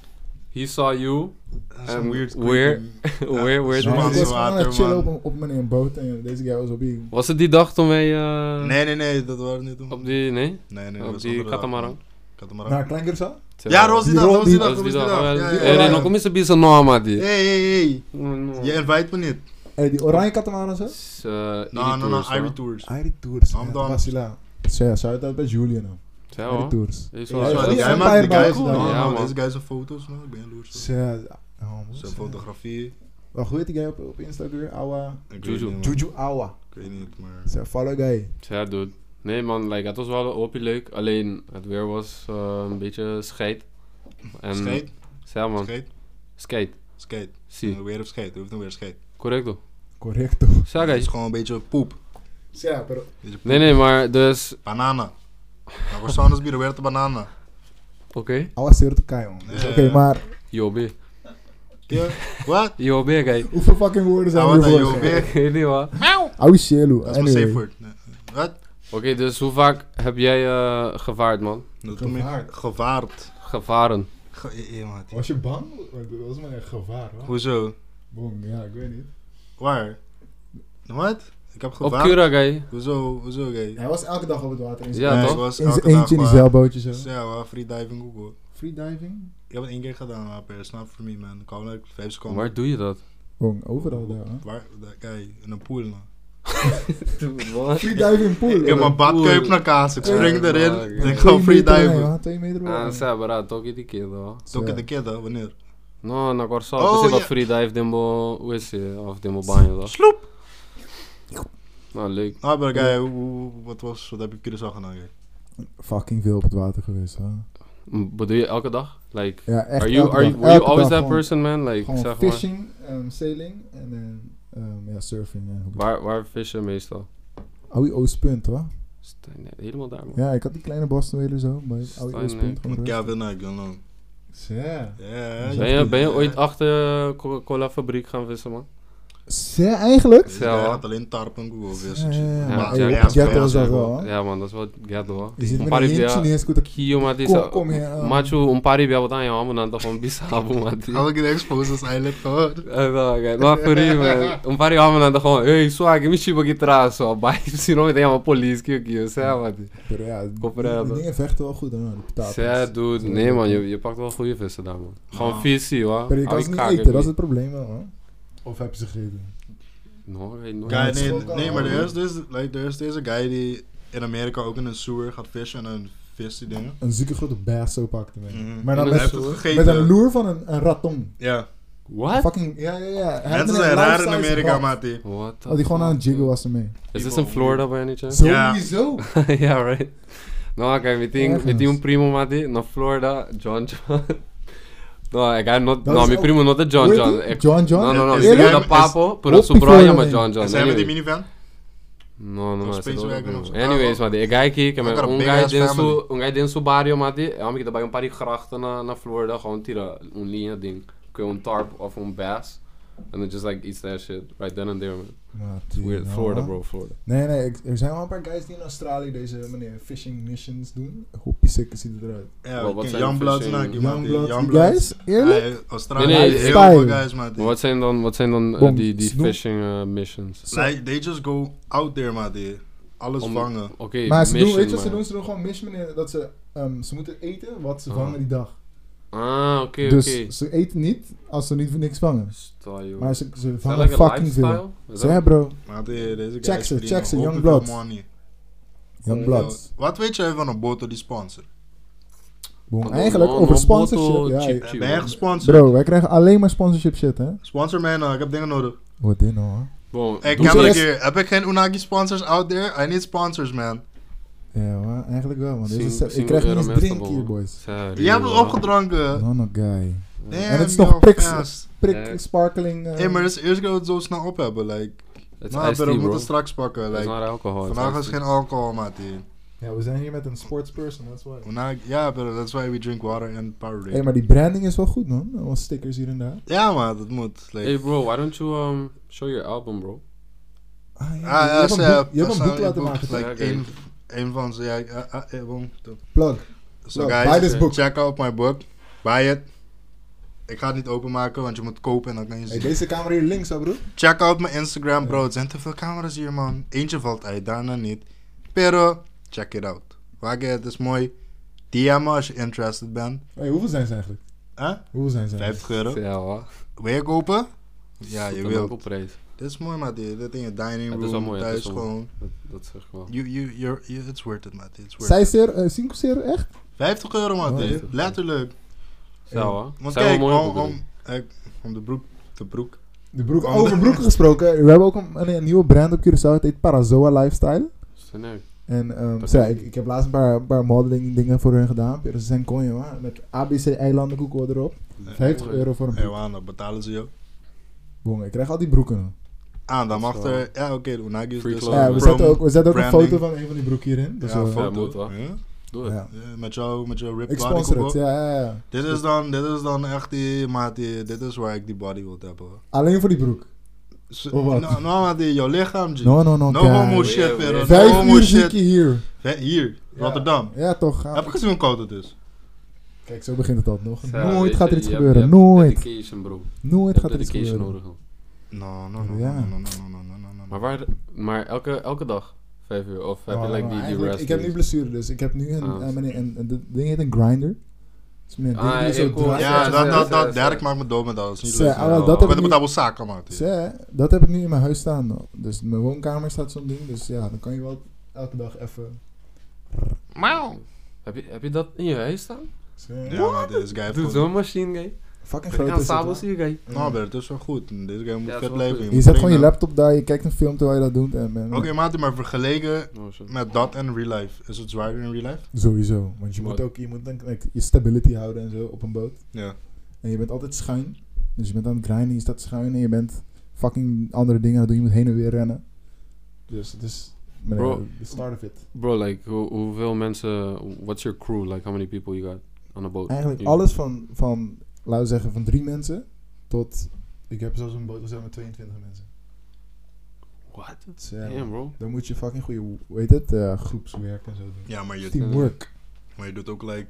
S2: He saw you.
S1: Dat is een
S2: En
S1: weird
S2: Ehm, where-
S1: creepy-
S2: Where, where
S3: Nee,
S1: Zwaar.
S2: did
S3: ik
S2: you...
S3: was gewoon aan het
S1: Water,
S3: chillen op,
S1: man.
S3: een- op meneer een boot en deze guy was op die...
S2: Was het die dag toen wij... eh,
S1: Nee, nee, nee, dat waren niet toen.
S2: Op die... Nee?
S1: Nee, nee, dat
S2: Op
S1: was
S2: die
S1: andere dag,
S2: katamaran.
S1: man. Katamaran.
S3: Naar Klein Curaçao?
S2: é
S1: Ja, dat was die dag, dat was die
S3: Nou, Die
S1: dag, dat
S2: Dat was
S1: was
S2: die
S1: die dag. Ja, ja,
S2: Hé,
S1: ja.
S2: Reno, kom eens een beetje naam, man. die.
S1: Hey, hey, hey.
S2: Mm,
S1: Je invite me niet.
S3: Hey, Eh, die oranje katamaran zo?
S2: Is, eh,
S1: No, no, no,
S2: Iritours,
S1: Ivy
S2: hoor.
S1: Tours.
S3: Airi Tours.
S1: Amsterdam.
S3: Amsterdam. Basila. Zij, shout-out bij Julian. hoor.
S2: Ja,
S3: Airi
S2: hoor.
S3: Tours.
S2: Is
S3: Ja,
S2: wel-
S3: ja,
S1: Zo,
S2: dat
S1: die
S2: is
S1: guy
S2: een
S1: maakt die
S3: paar
S1: guys.
S3: bakken,
S1: no,
S2: man. Ja,
S1: no,
S2: man.
S1: Deze guy zijn foto's, man. Ik ben jaloers. man.
S3: Zij, oh, man,
S1: Zijn
S3: zij.
S1: fotografie.
S3: Wacht, hoe heet die guy op, op Insta ook weer? Awa.
S1: Ik weet
S2: Juju.
S1: niet, man.
S3: Juju Awa.
S1: Ik weet niet, maar...
S3: Zij, follow guy.
S2: Ja, dude. Nee, man, like, het was wel een opie leuk. Alleen, het weer was eh, een beetje scheid. En,
S1: Skate,
S2: Ja, man.
S1: skate,
S2: Skate.
S1: skate.
S2: Zie.
S1: Weer op skate, hoeft nog weer skate.
S2: Correcto.
S3: Correcto.
S2: Ja,
S1: Het is
S2: guys.
S1: gewoon een beetje poep.
S3: Zij, pero...
S1: Beetje poep.
S2: Nee, nee, maar dus...
S1: Banana. Nou, Maar voor anders bieden weer de banana.
S2: Oké.
S3: Awa Sirte Kai, man. Dus,
S1: Ja.
S3: Oké, maar
S2: Jobbe.
S1: Ja, Wat?
S2: Jobbe, guys.
S3: hoeveel fucking woorden zijn
S1: Ah,
S3: er
S1: wat
S3: voor?
S1: een joh, weer.
S2: Ik weet niet, hoor.
S3: Awi Shelu.
S1: Dat is mijn safe
S3: Anyway.
S1: word. Nee. eh, Wat?
S2: Oké, dus hoe vaak heb jij eh, gevaard, man?
S1: Dat doe me
S3: Gevaard.
S1: gevaard.
S2: Gevaren.
S1: Ge- eh, eh, maat.
S3: Was je bang? Dat was maar een gevaar, hoor.
S1: Hoezo?
S3: Bom, ja, ik weet niet.
S1: Waar? Wat? Ik heb
S2: Op
S1: gevaard.
S2: Cura, guy.
S1: Hoezo, hoezo, gay?
S3: Hij was elke dag op het water. In zijn
S2: Ja,
S1: Nee,
S2: toch?
S1: ik was
S3: in zijn
S1: elke dag
S3: eentje in die
S1: maar-
S3: zeilbootje zo.
S1: Ja, maar freediving ook hoor.
S3: Freediving?
S1: Ik heb het één keer gedaan, maar per snap voor me man. Ik kwam like vijf seconden.
S2: Waar doe je dat?
S3: Bong, overal daar, hoor.
S1: Waar? dat- Kijk, in een pool man.
S3: Freediving pool.
S1: In mijn badkuip
S2: pool.
S1: naar kaas. Ik spring
S2: Ja,
S1: erin
S2: man.
S1: en ik ga freediven.
S3: Twee meter
S2: Ah,
S3: boven.
S2: sa, bara, toch die keer, hoor.
S1: Toen ik de kid hè, wanneer?
S2: No, na Corsa.
S1: Oh,
S2: Oh,
S1: ja.
S2: yeah. free dive, dimbo, hoe is je? Of dimbo banjo, hoor.
S1: Sloep!
S2: Nou, leuk.
S1: Ah, maar guy, hoe- hoe- wat, was, wat heb je op Curaçao gedaan? guy?
S3: Fucking veel op het water geweest, hè.
S2: M- Bedoel je elke dag? Like,
S3: Ja, echt
S2: are you,
S3: elke
S2: are you,
S3: dag,
S2: were you
S3: elke
S2: always
S3: dag
S2: that
S3: gewoon-
S2: person, man? Like,
S3: Gewoon
S2: zeg maar.
S3: fishing, ehm, sailing en dan ehm, ja, surfing. en
S2: Waar, waar vis je meestal?
S3: Aoi Oostpunt, hoor.
S2: Stijn, nee, helemaal daar, man.
S3: Ja, ik had die kleine Boston Whaler zo, maar Aoi
S2: Stijn, nee.
S3: Oostpunt
S1: Ik
S3: gewoon
S1: moet
S3: geweest.
S1: Kevin naar Gunlow.
S3: Ja.
S1: Ja.
S2: Ben je, ben je ooit achter eh, Coca-Cola fabriek gaan vissen, man?
S3: Zé, eigenlijk?
S1: Dus
S2: Ja,
S1: hij
S2: hoor.
S1: had alleen tarpen Google vissen.
S3: Ja, ja, ja.
S2: Ja,
S3: Maar
S2: Jack-
S3: Aoi
S2: Jack-
S3: Oostpunt was
S1: Jack-
S3: dat wel, hè.
S2: Ja, man, dat is wat ghetto, hoor.
S3: Je zit met
S2: Maar
S3: een
S2: ik- ja.
S3: hintje niet eens goed op
S2: Kiyo, mati,
S3: Kom- kom hier, ah.
S2: Machu, um pari bij wat aan je handen aan van bisabu, mati.
S1: Had ik het exposed als eiland gehoord?
S2: Maar voor je, man. Um pari handen aan de gewoon, hey, swag, mi ci baghi traso. Bai, si no, vediamo police, kio, kio, sai, mati.
S3: Maar ja, die-
S2: Koffer hebben.
S3: die dingen vechten wel goed, hè. De patat.
S2: Sai, dude. Nee, man, je, je pakt wel goede vissen daar, man. Gewoon
S1: Ah.
S2: visie, hoor.
S3: Maar je
S2: Hou
S3: kan
S2: je
S3: ze niet
S2: kaken
S3: eten, dat is
S2: niet.
S3: het probleem wel, hè. Of heb je ze gegeten?
S2: No, ik weet nooit.
S1: Guy,
S3: het is
S1: nee,
S3: ook al
S1: nee, maar er
S3: allemaal.
S1: is, dus, like, er is deze guy die in Amerika ook in een sewer gaat vissen en dan vist die dingen.
S3: Een zieke grote bass zo pakte, man.
S1: Mhm.
S3: Maar dan
S1: En
S2: met-
S1: hij heeft het gegeten.
S3: Met een loer van een, een raton.
S1: Ja,
S2: What?
S3: Fucking, ja, ja, ja. Hij had
S1: mensen
S3: een
S1: zijn raar in
S3: life-size
S1: Amerika,
S3: rat.
S1: mate.
S2: What the
S3: Had hij gewoon aan het
S2: fuck?
S3: jiggle was ermee.
S2: Is dit in Florida, by any chance?
S1: Ja.
S3: Sowieso.
S2: yeah, right. No, okay, met die, met die
S3: Ergens.
S2: een primo mati, naar Florida, John John. no, ik ga not,
S3: Dat
S2: no,
S3: is
S2: mijn
S3: ook-
S2: primo not de John
S3: Hoe heet
S2: John.
S3: die?
S2: Ik-
S3: John John?
S2: No, no, no,
S1: Is
S2: ik
S1: hij-
S2: ben de
S1: is-
S2: papo, pero
S3: Hoppie
S2: sobraya
S3: Florida
S2: maar
S3: man.
S2: John John.
S1: En zijn we die
S2: Anyway.
S1: minivan?
S2: No, no,
S1: Those
S2: maar.
S1: Space Wagon of zo.
S2: Anyways,
S1: Ah,
S2: mati, ik ga kijken
S1: I
S2: met
S1: got a
S2: een
S1: big
S2: guy
S1: ass
S2: denso,
S1: family.
S2: een guy denso barrio mati. Ja, maar ik heb een paar die grachten naar naar Florida, gewoon tira, een linea ding. Kun je een tarp of een bass. And then just like eats that shit right then and there, man.
S3: Maar
S2: It's weird.
S3: die,
S2: Florida,
S3: nou.
S2: bro, Florida.
S3: Nee, nee, ik- er zijn wel een paar guys die in Australië deze meneer fishing missions doen. Hoppie sikke ziet het eruit.
S1: Ja,
S2: Wat- wat zijn de
S1: Youngblood
S2: vissen?
S1: Naki, mate.
S3: Youngblood, die
S1: Youngblood.
S3: guys, eerlijk?
S1: Ja, Australië,
S2: Nee, nee,
S1: heel
S3: style.
S1: veel guys,
S2: Maar
S1: mate.
S2: wat zijn dan, wat zijn dan eh,
S3: Bom,
S2: die, die
S3: snoep.
S2: fishing eh, missions?
S3: Zo.
S1: Like, they just go out there, mate. Alles
S2: Om-
S1: vangen.
S2: Oké,
S3: maar ze doen,
S2: mission,
S3: weet je wat ze
S2: maar-
S3: doen? Ze doen gewoon mission meneer, dat ze, ehm, ze moeten eten wat ze
S2: Ah.
S3: vangen die dag.
S2: Ah, oké, oké.
S3: dus ze eten niet als ze niet voor niks vangen.
S2: Stel, joh.
S3: Maar ze, ze
S2: Is dat
S3: vangen
S2: like a
S3: fucking veel.
S2: lifestyle? Is
S3: Zo
S2: dat-
S3: ja bro,
S1: Mate, deze guys
S3: Check ze,
S1: verdienen
S3: check ze,
S1: ook
S3: Youngblood.
S1: veel money.
S3: Young Bloods.
S1: Wat weet jij van een boter die sponsor?
S3: Boom.
S2: Want
S3: Eigenlijk
S2: non-
S3: over
S2: non-bottle
S3: sponsorship. Ja,
S2: chip-
S1: Ben jij gesponsord?
S3: Bro, wij krijgen alleen maar sponsorship shit, hè?
S1: Sponsor mij nou, ik heb dingen nodig.
S3: Wat dit nou, hoor.
S2: Bro,
S1: Hey,
S2: doe
S3: ze
S1: Cameron,
S2: eens-
S3: eerst-
S1: hier. Heb ik geen Unagi sponsors out there? I need sponsors, man.
S3: Ja, maar eigenlijk wel, man. Deze
S2: Zien-
S3: set-
S2: zien
S3: ik krijg
S2: we
S3: niet eens
S2: Euromast
S3: drink
S2: dan wel.
S3: hier, boys.
S2: Serieus,
S1: Jij hebt me
S2: hoor.
S1: opgedronken.
S3: No, no, guy.
S1: Damn,
S3: En het is nog
S1: your
S3: priks.
S1: fans.
S3: Prik,
S2: Ja.
S3: sparkling. eh,
S1: Hé, maar dus eerst gaan we het zo snel op hebben. Like.
S2: Het is
S1: Maar
S2: iced tea,
S1: we
S2: bro.
S1: moeten straks pakken.
S2: Het is
S1: Like.
S2: not alcohol. het
S1: Vandaag
S2: iced
S1: is
S2: tea.
S1: geen alcohol, mate.
S3: Ja, we zijn hier met een sportsperson, that's why.
S1: Unagi- Ja, bro, that's why we drink water and Powerade.
S3: hey, maar die branding is wel goed, man. Allemaal stickers hier en daar.
S1: Ja, man, dat moet. Like.
S2: Hey bro, why don't you um, show your album, bro?
S3: Ah, ja,
S1: Ah,
S3: je
S1: ja,
S3: hebt
S1: ze-
S3: een boek, je
S1: dat
S3: hebt een
S1: zijn
S3: boek
S1: die boeken,
S3: laten maken. toch?
S2: Ja,
S1: Like,
S2: oké.
S1: een, een van ze. Ja, ah, ah, eh, boom, top.
S3: Plug.
S1: So
S3: Look,
S1: guys,
S3: Nou, buy this book.
S1: check out my book. Buy it. Ik ga het niet openmaken, want je moet kopen en dan kan je
S3: Hey,
S1: zien.
S3: deze camera hier links, hè, broer.
S1: Check out mijn Instagram, bro. Het zijn te veel camera's hier, man. Eentje valt uit, daarna niet. Pero, check it out. Wagen, het is mooi. DM me als je interested bent.
S3: Hey, hoeveel zijn ze eigenlijk?
S1: Huh?
S3: Hoeveel zijn ze
S1: 50
S3: eigenlijk?
S1: euro.
S2: Ja, hoor.
S1: Wil je kopen? Ja,
S2: Zoet
S1: je
S2: en
S1: wilt.
S2: appelprijs.
S1: Dit is mooi, maat. Dit dit in je dining
S2: Het
S1: room,
S2: is wel mooi, het
S1: thuis
S2: is wel mooi.
S1: gewoon.
S2: Dat, dat zeg ik wel.
S1: You, you, you're, you, it's worth it, maat. It's worth it.
S3: Zij er, eh cinco zeer, echt?
S1: 50 euro, maat.
S3: Oh,
S1: dit.
S2: 50.
S1: Letterlijk.
S2: Ja, hoor.
S1: Want
S2: Zijn wel
S1: kijk,
S2: mooie
S1: om,
S2: boeken,
S1: om, eh, om de broek, de broek.
S3: De broek.
S1: Oh,
S3: Over
S1: de-
S3: broeken gesproken. We hebben ook een, een, een nieuwe brand op Curaçao. Het heet Parazoa Lifestyle.
S2: Zijn er-
S3: En ehm,
S2: Dat-
S3: zij, ik, ik heb laatst een paar, een paar modeling dingen voor hun gedaan. Ze zijn konje, man. Met ABC-eilandenkoeken erop. 50 euro voor een
S1: Hey,
S3: broek.
S1: Juan, dat betalen ze jou.
S3: Boom, ik krijg al die broeken.
S1: Ah, dan
S2: Dat
S1: mag
S2: is wel-
S1: er... Ja, oké, de Unagi is
S2: Free
S1: dus...
S2: clothes,
S1: een
S3: Ja, we
S2: man.
S3: zetten
S1: promo.
S3: ook, we zetten ook een
S1: branding.
S3: foto van een van die broeken hierin. Dus
S1: ja,
S3: eh,
S2: foto.
S1: foto.
S2: moet wel.
S1: Ja,
S2: Doe het.
S3: ja.
S1: ja, met jou, met jouw
S3: Ik
S1: ripped body
S3: sponsor het,
S1: koepel.
S3: ja, ja, ja.
S1: Dit is dan, dit is dan echt die, maat, die, dit is waar ik die body wil hebben. hoor.
S3: Alleen voor die broek.
S1: S-
S3: Of Oh, wat?
S1: Nou, nou, maat, die, jouw lichaam, G.
S3: No, no, no,
S1: No
S3: guy.
S1: homo
S2: Ja,
S1: shit, Pero. No
S3: Vijf
S1: homo
S3: uur zit je
S1: shit.
S3: hier.
S1: Hè, Hier,
S3: Ja.
S1: Rotterdam.
S3: Ja, toch. gaan we-
S1: Heb je gezien hoe koud het is?
S3: Kijk, zo begint het al nog.
S2: Ja, weet
S3: Nooit gaat
S2: je,
S3: er iets
S2: je hebt-
S3: gebeuren.
S2: je hebt
S3: Nooit.
S2: Dedication, bro.
S3: Nooit
S2: Je hebt
S3: gaat er iets
S2: dedication
S3: gebeuren.
S2: nodig. man.
S1: No, no, no,
S3: Ja.
S1: no, no, no, no, no, no, no, no.
S2: Maar, waar, maar elke, elke dag? Vijf uur? Of heb
S3: Oh,
S2: je like die, die
S3: eigenlijk,
S2: rest
S3: ik heb nu
S2: days?
S3: blessure, dus ik heb nu een,
S2: Ah.
S3: eh, meneer, een, een- dat ding heet een grinder. Dus meneer,
S2: Ah,
S3: ah,
S2: ik
S3: zo
S2: hoor-
S3: draait.
S1: Ja,
S2: Ja,
S1: dat,
S2: ja,
S1: dat,
S2: ja,
S1: dat,
S2: ja.
S1: Derek maakt me dood met dat. is niet
S3: Zo,
S1: leuk.
S3: ah, wel,
S2: Ja,
S3: dat,
S1: Ik
S3: heb
S2: maar
S1: ben
S3: ik
S1: met
S3: nu,
S1: Abu Saka, maat.
S3: Zo, Dus, dat heb ik nu in mijn huis staan. Dus in mijn woonkamer staat zo'n ding. Dus ja, dan kan je wel elke dag even...
S1: Mauw.
S2: Heb je, heb je dat in je huis staan?
S3: Zo.
S1: Ja, maat, deze guy heeft
S2: Doe
S1: gewoon-
S2: zo'n machine, guy.
S3: Dus, Fucking groot is het,
S2: Incansável
S3: man.
S2: zie ik,
S1: Mm. Nou, Bert, dat is wel goed. Deze guy moet
S2: dat is
S1: vet
S2: wel
S1: blijven.
S2: goed.
S1: Je
S3: Je
S1: moet
S3: zet gewoon je
S1: trainen.
S3: laptop daar, je kijkt een film terwijl je dat doet en ben,
S1: Oké, maat, maar vergeleken
S2: Oh, shit.
S1: met dat en real life. Is het zwaarder in real life?
S3: sowieso. Want je moet
S2: Wat?
S3: ook je, moet dan, like, je stability houden en zo op een boot.
S1: Ja.
S3: En je bent altijd schuin. Dus je bent aan het grinden, je staat schuin en je bent fucking andere dingen aan het doen. Je moet heen en weer rennen. Dus het is maar,
S2: Bro.
S3: eh, the start of it.
S2: Bro, like, hoe- hoeveel mensen... What's your crew? Like, how many people you got on a boat?
S3: Eigenlijk
S2: You-
S3: alles van, van, laten we zeggen, van drie mensen tot... Ik heb zelfs een boot gezet met 22 mensen.
S2: What?
S3: Dus, ja,
S2: Damn, bro.
S3: dan moet je fucking goede, hoe heet het, eh, groepswerk en zo doen.
S1: Ja, maar je,
S3: Teamwork.
S1: maar je doet ook like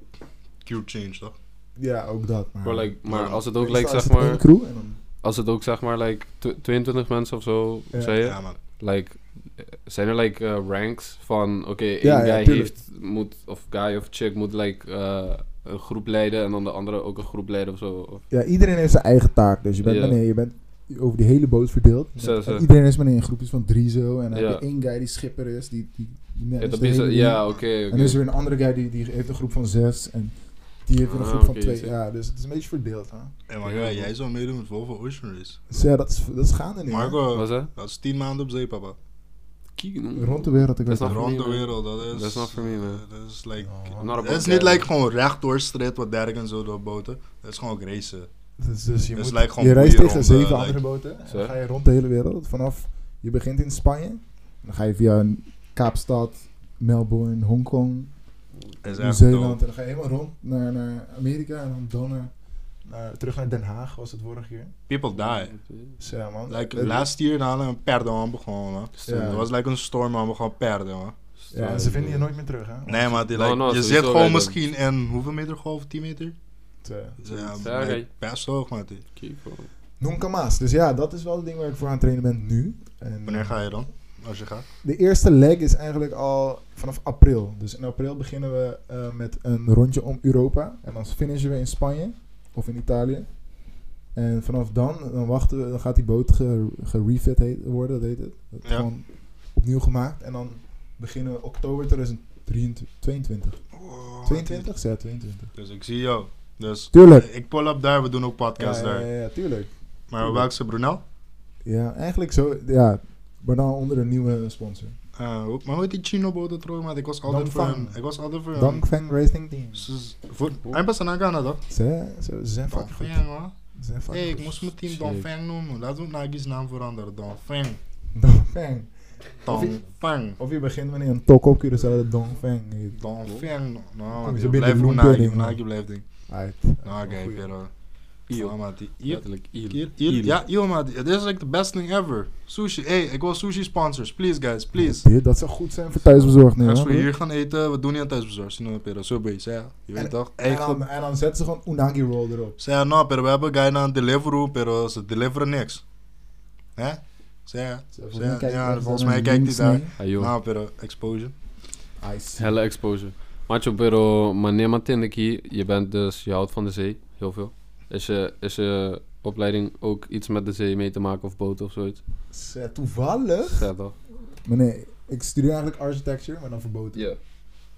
S1: cute change, toch?
S3: Ja, ook dat. Maar,
S2: Bro, like, maar
S1: Maar-
S2: als het ook,
S3: Meestal
S2: like,
S3: is
S2: zeg
S3: het één
S2: maar...
S3: crew en dan...
S2: Als het ook, zeg maar, like, tw- 22 mensen of zo,
S3: Ja.
S2: zei je?
S1: Ja, man.
S2: Like, eh, zijn er, like, eh, ranks van... Oké,
S3: Ja,
S2: één
S3: ja,
S2: guy
S3: tuurlijk.
S2: heeft... Moet, of guy of chick moet, like, eh, een groep leiden... En dan de andere ook een groep leiden of zo. Of,
S3: Ja, iedereen heeft zijn eigen taak. Dus je bent,
S2: Ja.
S3: wanneer, je bent over die hele boot verdeeld. Je
S2: Zo,
S3: bent-
S2: zo.
S3: en Iedereen is maar in groepjes van drie zo. En dan
S2: Ja.
S3: heb je één guy die schipper is. Die, die, die
S2: ja,
S3: managt
S2: dat
S3: dus de
S2: is,
S3: hele ding.
S2: ja, oké,
S3: En dan is
S2: oké.
S3: er weer een andere guy die, die heeft een groep van zes. En die heeft weer een
S2: Ah,
S3: groep van
S2: oké,
S3: twee.
S2: zo.
S3: Ja, dus het is een beetje verdeeld. Hè?
S1: En maar
S2: Ja,
S1: ja,
S2: man.
S1: jij zou meedoen met Volvo Ocean Race.
S3: Dus ja, dat is, dat is gaande nu. hè.
S1: Marco,
S2: Wat zei?
S1: dat is 10 maanden op zee, papa.
S2: Kieken.
S3: Rond de wereld. Ik
S2: Dat is
S3: weet
S2: not
S3: het.
S1: Rond
S2: for me,
S1: de
S2: man.
S1: wereld, dat is...
S2: That's not for me, man.
S1: eh, Dat is like...
S3: Oh,
S2: I'm not a
S1: Het is
S2: boat
S1: niet
S2: guy,
S1: like
S2: man.
S1: gewoon rechtdoor streed wat Derek en zo door boten. Dat is gewoon ook racen.
S3: Dus, dus je,
S1: Dus
S3: moet,
S1: lijkt gewoon eh,
S3: je reist
S1: goeie
S3: tegen
S1: ronde,
S3: zeven
S1: lijkt-
S3: andere boten. En
S2: Zo.
S3: dan ga je rond de hele wereld. Vanaf je begint in Spanje. Dan ga je via Kaapstad, Melbourne, Hongkong.
S1: Dat is echt dope.
S3: Nieuw-Zeeland. En dan ga je helemaal rond naar, naar Amerika en dan, dan naar, naar- terug naar Den Haag was het vorige keer.
S1: People die.
S3: Dus ja, man.
S1: Like,
S3: Het-
S1: last year nou, hadden we een perdenhamp begonnen, man.
S3: Ja.
S1: Dat was like een storm, maar we gewoon perden, man.
S3: ja, en ze vinden je nooit meer terug, hè?
S1: Nee, maar die,
S2: No,
S1: like,
S2: no,
S1: je
S2: sowieso
S1: zit gewoon
S2: random.
S1: misschien in hoeveel meter golf? 10 meter?
S3: Het, eh,
S1: Dus Ja,
S2: Ja,
S1: like,
S2: oké.
S1: best hoog, man. die.
S2: Kiek, bro.
S3: Nunca más. Dus ja, dat is wel het ding waar ik voor aan het trainen ben nu. En
S1: Wanneer ga je dan? Als je gaat?
S3: De eerste leg is eigenlijk al vanaf april. Dus in april beginnen we eh, met een rondje om Europa. En dan finishen we in Spanje of in Italië. En vanaf dan, dan wachten we, dan gaat die boot ge- gerefit heet- worden, dat heet het. Dat is
S1: Ja.
S3: Gewoon opnieuw gemaakt. En dan beginnen we oktober
S1: Oh,
S3: 2022. 22? Ja, 22.
S1: Dus ik zie jou. Dus
S3: Tuurlijk.
S1: ik pull up daar, we doen ook
S3: Ja,
S1: podcast
S3: ja,
S1: daar.
S3: ja, ja, tuurlijk.
S1: Maar welke is Brunel?
S3: Ja, eigenlijk zo, ja. Maar dan onder een nieuwe sponsor.
S1: Eh, hoe- maar hoe heet die chino boten trouwens? Maar ik was altijd
S3: Dan
S1: voor
S3: Fang.
S1: hem. Ik was altijd voor hem.
S3: Dongfeng Racing Team.
S1: Ze is- voor- Hij was aan Ghana toch?
S3: Ze, ze, ze zijn
S1: Don
S3: fucking goed.
S1: Fang, man.
S3: Ze zijn
S1: Hey,
S3: fucking
S1: ik
S3: goed.
S1: moest mijn team
S2: Shit.
S1: Don Fang noemen. Laten we ook Nagi's naam veranderen. Don Fang.
S3: Dongfeng. Of Oh, je-
S1: Don Fang.
S3: Of je begint met een tok op Curaçao dat Dongfeng heet.
S1: Don Fang. Nou,
S3: Kom
S1: man, die
S3: je binnen,
S1: blijft
S3: Loen
S1: Nagi.
S3: Pudding, man.
S1: Nagi blijft ding.
S3: Uit.
S1: Nou, oké, Pero.
S2: Eel.
S1: Ja, maat, die- hier-
S2: Letterlijk, iel.
S1: hier- hier-
S2: Iel.
S1: Ja, yo, maat. Dit is like the best thing ever. Sushi. Hey, ik wil sushi sponsors. Please, guys. Please.
S3: Dit, dat zou goed zijn voor thuisbezorgd. Nee,
S1: Als
S3: hoor.
S1: we hier gaan eten, we doen niet aan thuisbezorgd. Zien we, Pero. Zo ben je. zei, Je weet toch?
S3: en,
S1: Eigen
S3: dan, en dan zetten ze gewoon Unagi Roll erop.
S1: Zeg, no, pero we hebben guy naar Deliveroo, pero ze deliveren niks. Hè? Zeg,
S3: Volgens mij
S1: zeg,
S3: kijken
S1: ja,
S3: ze
S1: volgens
S3: dan
S1: mij
S3: een
S1: kijkt hij
S3: links
S1: daar.
S3: mee.
S2: Ah, joh.
S1: Nou, pero exposure.
S3: Ice.
S2: Helle exposure. Macho, pero meneer Matindeki, je bent dus, je houdt van de zee, heel veel. Is je, is je opleiding ook iets met de zee mee te maken of boot of zoiets?
S3: Zet, toevallig.
S2: Zet toch?
S3: Maar nee, ik studeer eigenlijk architecture, maar dan verboden.
S2: Ja.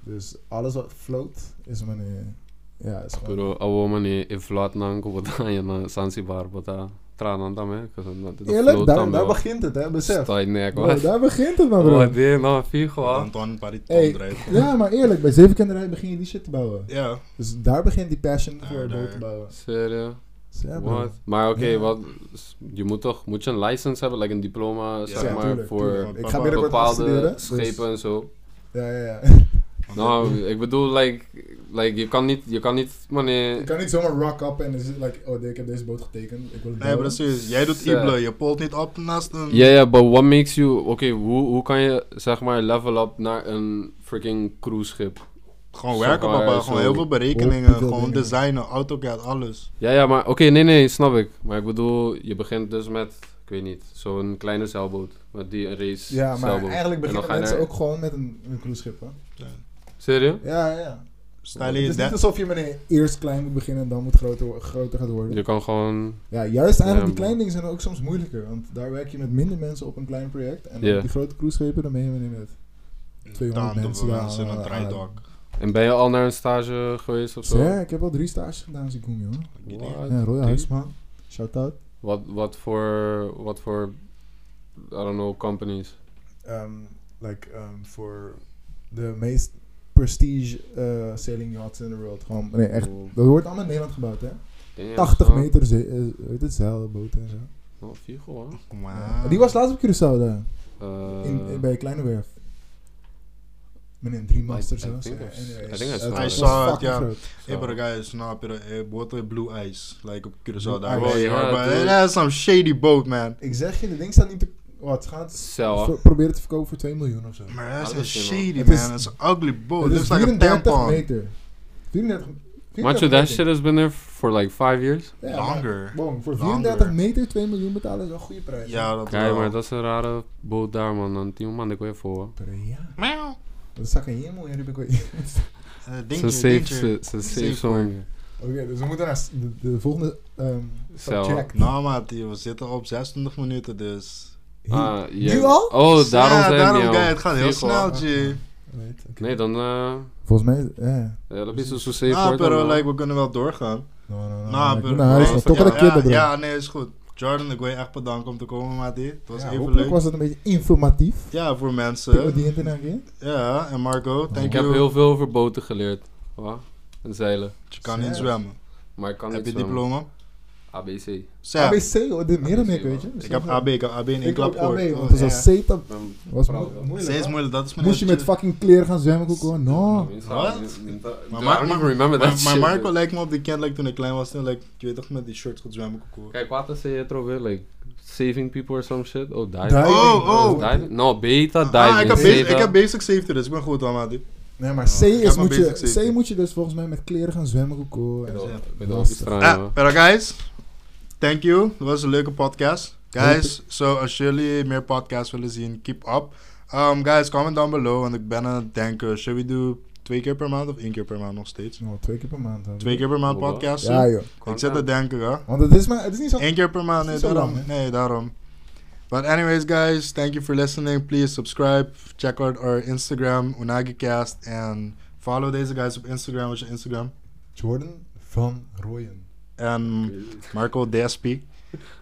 S3: Dus alles wat float is mijn... eh, Ja, is gewoon...
S2: Pero ouwe meneer, in Vlaat nang op je na Zanzibar, wat daar tranen dan mee.
S3: Eerlijk, daar, daar begint het, hè. Besef.
S2: Sta je nek,
S3: Bro,
S2: wat?
S3: daar begint het, man, bro.
S2: Wat die nou, figo, ah.
S1: Anton Parit
S3: Hey.
S1: drijft.
S3: Ja, maar eerlijk, bij zevenkinderij begin je die shit te bouwen.
S1: Ja,
S3: Dus daar begint die passion
S1: Ja,
S3: voor het boot
S1: Ah, daar.
S3: te bouwen.
S2: Serio?
S3: Dus ja, bro.
S2: Wat? Maar oké,
S3: Ja.
S2: wat, je moet toch, moet je een license hebben, like een diploma, zeg
S1: Ja,
S2: maar,
S3: tuurlijk,
S2: voor...
S3: tuurlijk.
S1: voor
S3: Ik ga binnenkort
S2: bepaalde
S3: afstuderen, dus-
S2: schepen en zo.
S3: Ja, ja, ja.
S1: want
S2: Nou,
S1: ik-
S2: ik bedoel, like, like je kan niet, je kan niet,
S3: Je
S2: meneer.
S3: kan niet zomaar rock up en is het like, oh ik heb deze boot getekend, ik wil het
S1: eh, Nee,
S3: bouwen.
S1: precies. Jij doet
S2: Zeg.
S1: Ible, je polt niet op naast een...
S2: Ja, ja, but what makes you, oké, hoe, hoe kan je, zeg maar, level up naar een freaking cruiseschip?
S1: Gewoon
S2: Zo
S1: werken,
S2: waar,
S1: papa. Gewoon
S2: zo.
S1: heel veel berekeningen.
S3: ah, Hoop veel
S1: Gewoon
S3: dingen.
S1: designen, AutoCAD, alles.
S2: Ja, ja, maar oké, nee, nee, snap ik. Maar ik bedoel, je begint dus met, ik weet niet, zo'n kleine zeilboot. Met die een race
S3: Ja, maar
S2: zeilboot.
S3: eigenlijk
S2: En dan
S3: beginnen
S2: ga je
S3: mensen
S2: naar-
S3: ook gewoon met een, een cruiseschip, hè.
S2: Serieus?
S3: Ja, ja, ja.
S1: Stijl
S3: het
S1: je
S3: is niet
S1: dat?
S3: alsof je meteen eerst klein moet beginnen en dan moet groter, groter gaat worden.
S2: Je kan gewoon,
S3: Ja, juist eigenlijk
S2: Ja,
S3: die
S2: man.
S3: kleine dingen zijn ook soms moeilijker, want daar werk je met minder mensen op een klein project. En
S2: Ja.
S3: op die grote cruiseschepen, dan ben je meteen met 200
S1: Taanten
S3: mensen
S1: mensen
S3: daar
S1: in
S3: aan-
S1: een
S3: aan-
S1: draaidok.
S2: ja, En ben je al naar een stage geweest of zo?
S3: Ja, ik heb al drie stages gedaan als ik kom, jongen.
S2: What?
S3: Ja, Roy
S2: Drie?
S3: Huisman. Shout-out.
S2: Wat, wat voor, wat voor, I don't know, companies?
S3: um, like um, voor de meest prestige eh, sailing yachts in the world. Gewoon, nee, echt. Dat wordt allemaal in Nederland gebouwd, hè?
S2: Damn,
S3: 80
S2: son.
S3: meter, ze- eh, weet het, zeilboten en zo.
S2: Oh, Figo, hè?
S1: Wow.
S3: Die was laatst op Curaçao daar,
S2: Ah. Eh,
S3: in, in- bij Kleine Werf. Met een drie master
S2: I
S3: zo.
S2: think
S3: Ja,
S2: I've-
S3: anyways,
S2: I think I
S3: het
S2: saw
S3: was
S2: it. I
S1: saw it,
S3: fucking
S1: ja.
S3: groot.
S1: Hey,
S2: So.
S1: but guys, no, but uh, water blue eyes, like op
S3: Blue
S1: Curaçao daar.
S3: Ice.
S1: Hey,
S2: Oh, ja,
S1: maar,
S2: dude.
S1: that's some shady boat, man.
S3: Ik zeg je, de ding staat niet te... Wat gaat?
S2: Cel, hè?
S3: Pro- Probeer het te verkopen voor 2 miljoen of zo.
S1: Maar that's a
S2: Alles, jongen.
S1: shady,
S3: Het is-
S1: man. It's an ugly boat.
S3: Het
S1: It
S3: is
S1: looks like a
S3: 34
S1: tampon.
S3: meter. 34 meter.
S2: Macho, that shit has been there for like five years.
S3: Ja, maar-
S1: Longer.
S3: Boom, voor
S1: Longer.
S3: 34 meter 2 miljoen betalen is wel een goede prijs.
S1: Ja, dat
S2: Kijk,
S1: wel.
S2: maar dat is een rare boot daar, man. Dan tien man, ik wil je voor.
S3: Per jaar.
S1: Meow.
S3: Dat is zakken helemaal in de
S1: Eh,
S2: Ze
S1: Dingetje,
S2: safe,
S1: dingetje.
S2: ze ze
S1: Safe
S2: safe zo'n...
S3: Oké, dus we moeten naar s- de, de volgende ehm
S2: Cel.
S3: subject.
S1: Nou, maat, we zitten op 26 minuten, dus...
S3: Hier.
S2: Ah,
S3: Nu
S2: ja.
S3: al? nou-
S2: Oh, daarom
S1: ja,
S2: zijn
S1: daarom,
S2: die
S1: guy,
S2: al.
S1: het gaat heel
S2: Figo.
S1: snel, G.
S3: Weet, oké.
S2: Nee, Nou, dan... eh
S3: Volgens mij, ja.
S2: ja, dat is zo safe,
S1: Nou,
S2: hoor, dan,
S1: pero,
S2: eh.
S1: like, we kunnen wel doorgaan.
S3: No, no, no,
S1: Nou,
S3: ik
S1: pero-
S3: moet naar huis,
S1: nee,
S3: man.
S2: dat-
S3: Toch wel een
S1: ja,
S3: keer dat
S1: Ja, nee, is goed. Jordan, ik wil je echt bedanken om te komen, Mati. Het was even
S3: hopelijk
S1: leuk.
S3: was het een beetje informatief.
S1: Ja, voor
S3: Pico die
S1: mensen.
S3: internet keer.
S1: Ja, en Marco, thank
S2: Ik
S1: you.
S2: heb heel veel over boten geleerd. Wat? En zeilen.
S1: Je kan niet
S3: Zes.
S1: zwemmen.
S2: Maar ik kan
S1: heb
S2: niet
S1: je
S2: zwemmen.
S1: diploma?
S2: ABC. Ik
S1: Zeg,
S3: ABC, hoor, dit meer dan ik, weet je.
S1: ik heb AB, ik heb AB in één
S3: Ik
S1: klap
S3: ook AB,
S1: gehoord.
S3: want het was
S1: Ja.
S3: al CETA.
S2: ben
S3: Was
S2: proud,
S3: mo-
S2: hoor.
S3: moeilijk,
S1: Steeds
S3: hoor.
S1: moeilijk, dat is mijn
S3: Moest je met fucking kleren gaan zwemmen, Coco? No.
S1: Wat?
S2: Maar
S1: Mar-
S2: Marco,
S1: maar-
S2: remember
S1: Maar,
S2: that
S1: maar
S2: shit,
S1: Marco
S2: dude.
S1: lijkt me op die kent like, toen ik klein was. Toen, like, je weet toch met die shirts goed zwemmen. koekoe.
S2: Kijk, wat is je er weer? Like, saving people or some shit? Oh, diving.
S3: Diving.
S1: Oh, oh.
S2: Diving? No, beta diving.
S1: Ah, ik, heb basic,
S2: Zeta.
S1: ik heb basic safety, dus ik ben goed aan Mati.
S3: Nee, maar
S1: Ja,
S3: C,
S1: ik heb
S3: is,
S1: een
S3: moet je,
S1: basic safety.
S3: C moet je dus volgens mij met kleren gaan zwemmen, Coco.
S2: Ik
S3: En
S2: bedoel,
S1: Ja.
S2: ik bedoel,
S3: Lastig.
S2: die straal,
S1: Ah,
S2: jongen.
S1: pero guys, thank you. Het was een leuke podcast. Guys, so als jullie meer podcasts willen zien, keep up. Um, guys, comment down below, want ik ben aan het denken. Should we do twee keer per maand of één keer per maand nog steeds?
S3: Nou, twee keer per maand. hoor.
S1: Twee keer per maand
S2: Hoe dan?
S1: podcasts?
S3: Ja, joh.
S1: ik zit te denken, hè.
S3: Want het is, maar, het is niet zo...
S1: Eén keer per maand, nee,
S3: It's so
S1: daarom.
S3: long, hè?
S1: nee, daarom. But anyways, guys, thank you for listening. Please subscribe, check out our Instagram, UnagiCast, and follow deze guys op Instagram. What's your Instagram?
S3: Jordan van Rooyen.
S1: And Marco DSP. Nou,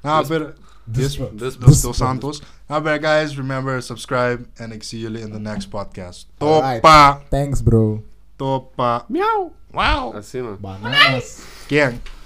S1: Ah, but
S3: Dus
S1: Yes,
S3: wat.
S2: Dus-
S1: Dos, Dos Santos. Nou, but guys, remember, subscribe, and ik zie jullie in the next podcast.
S3: Alright.
S1: Topa,
S3: Thanks, bro.
S1: topa. Miauw. Wow.
S2: Así, man.
S3: Bananas.
S1: Gang.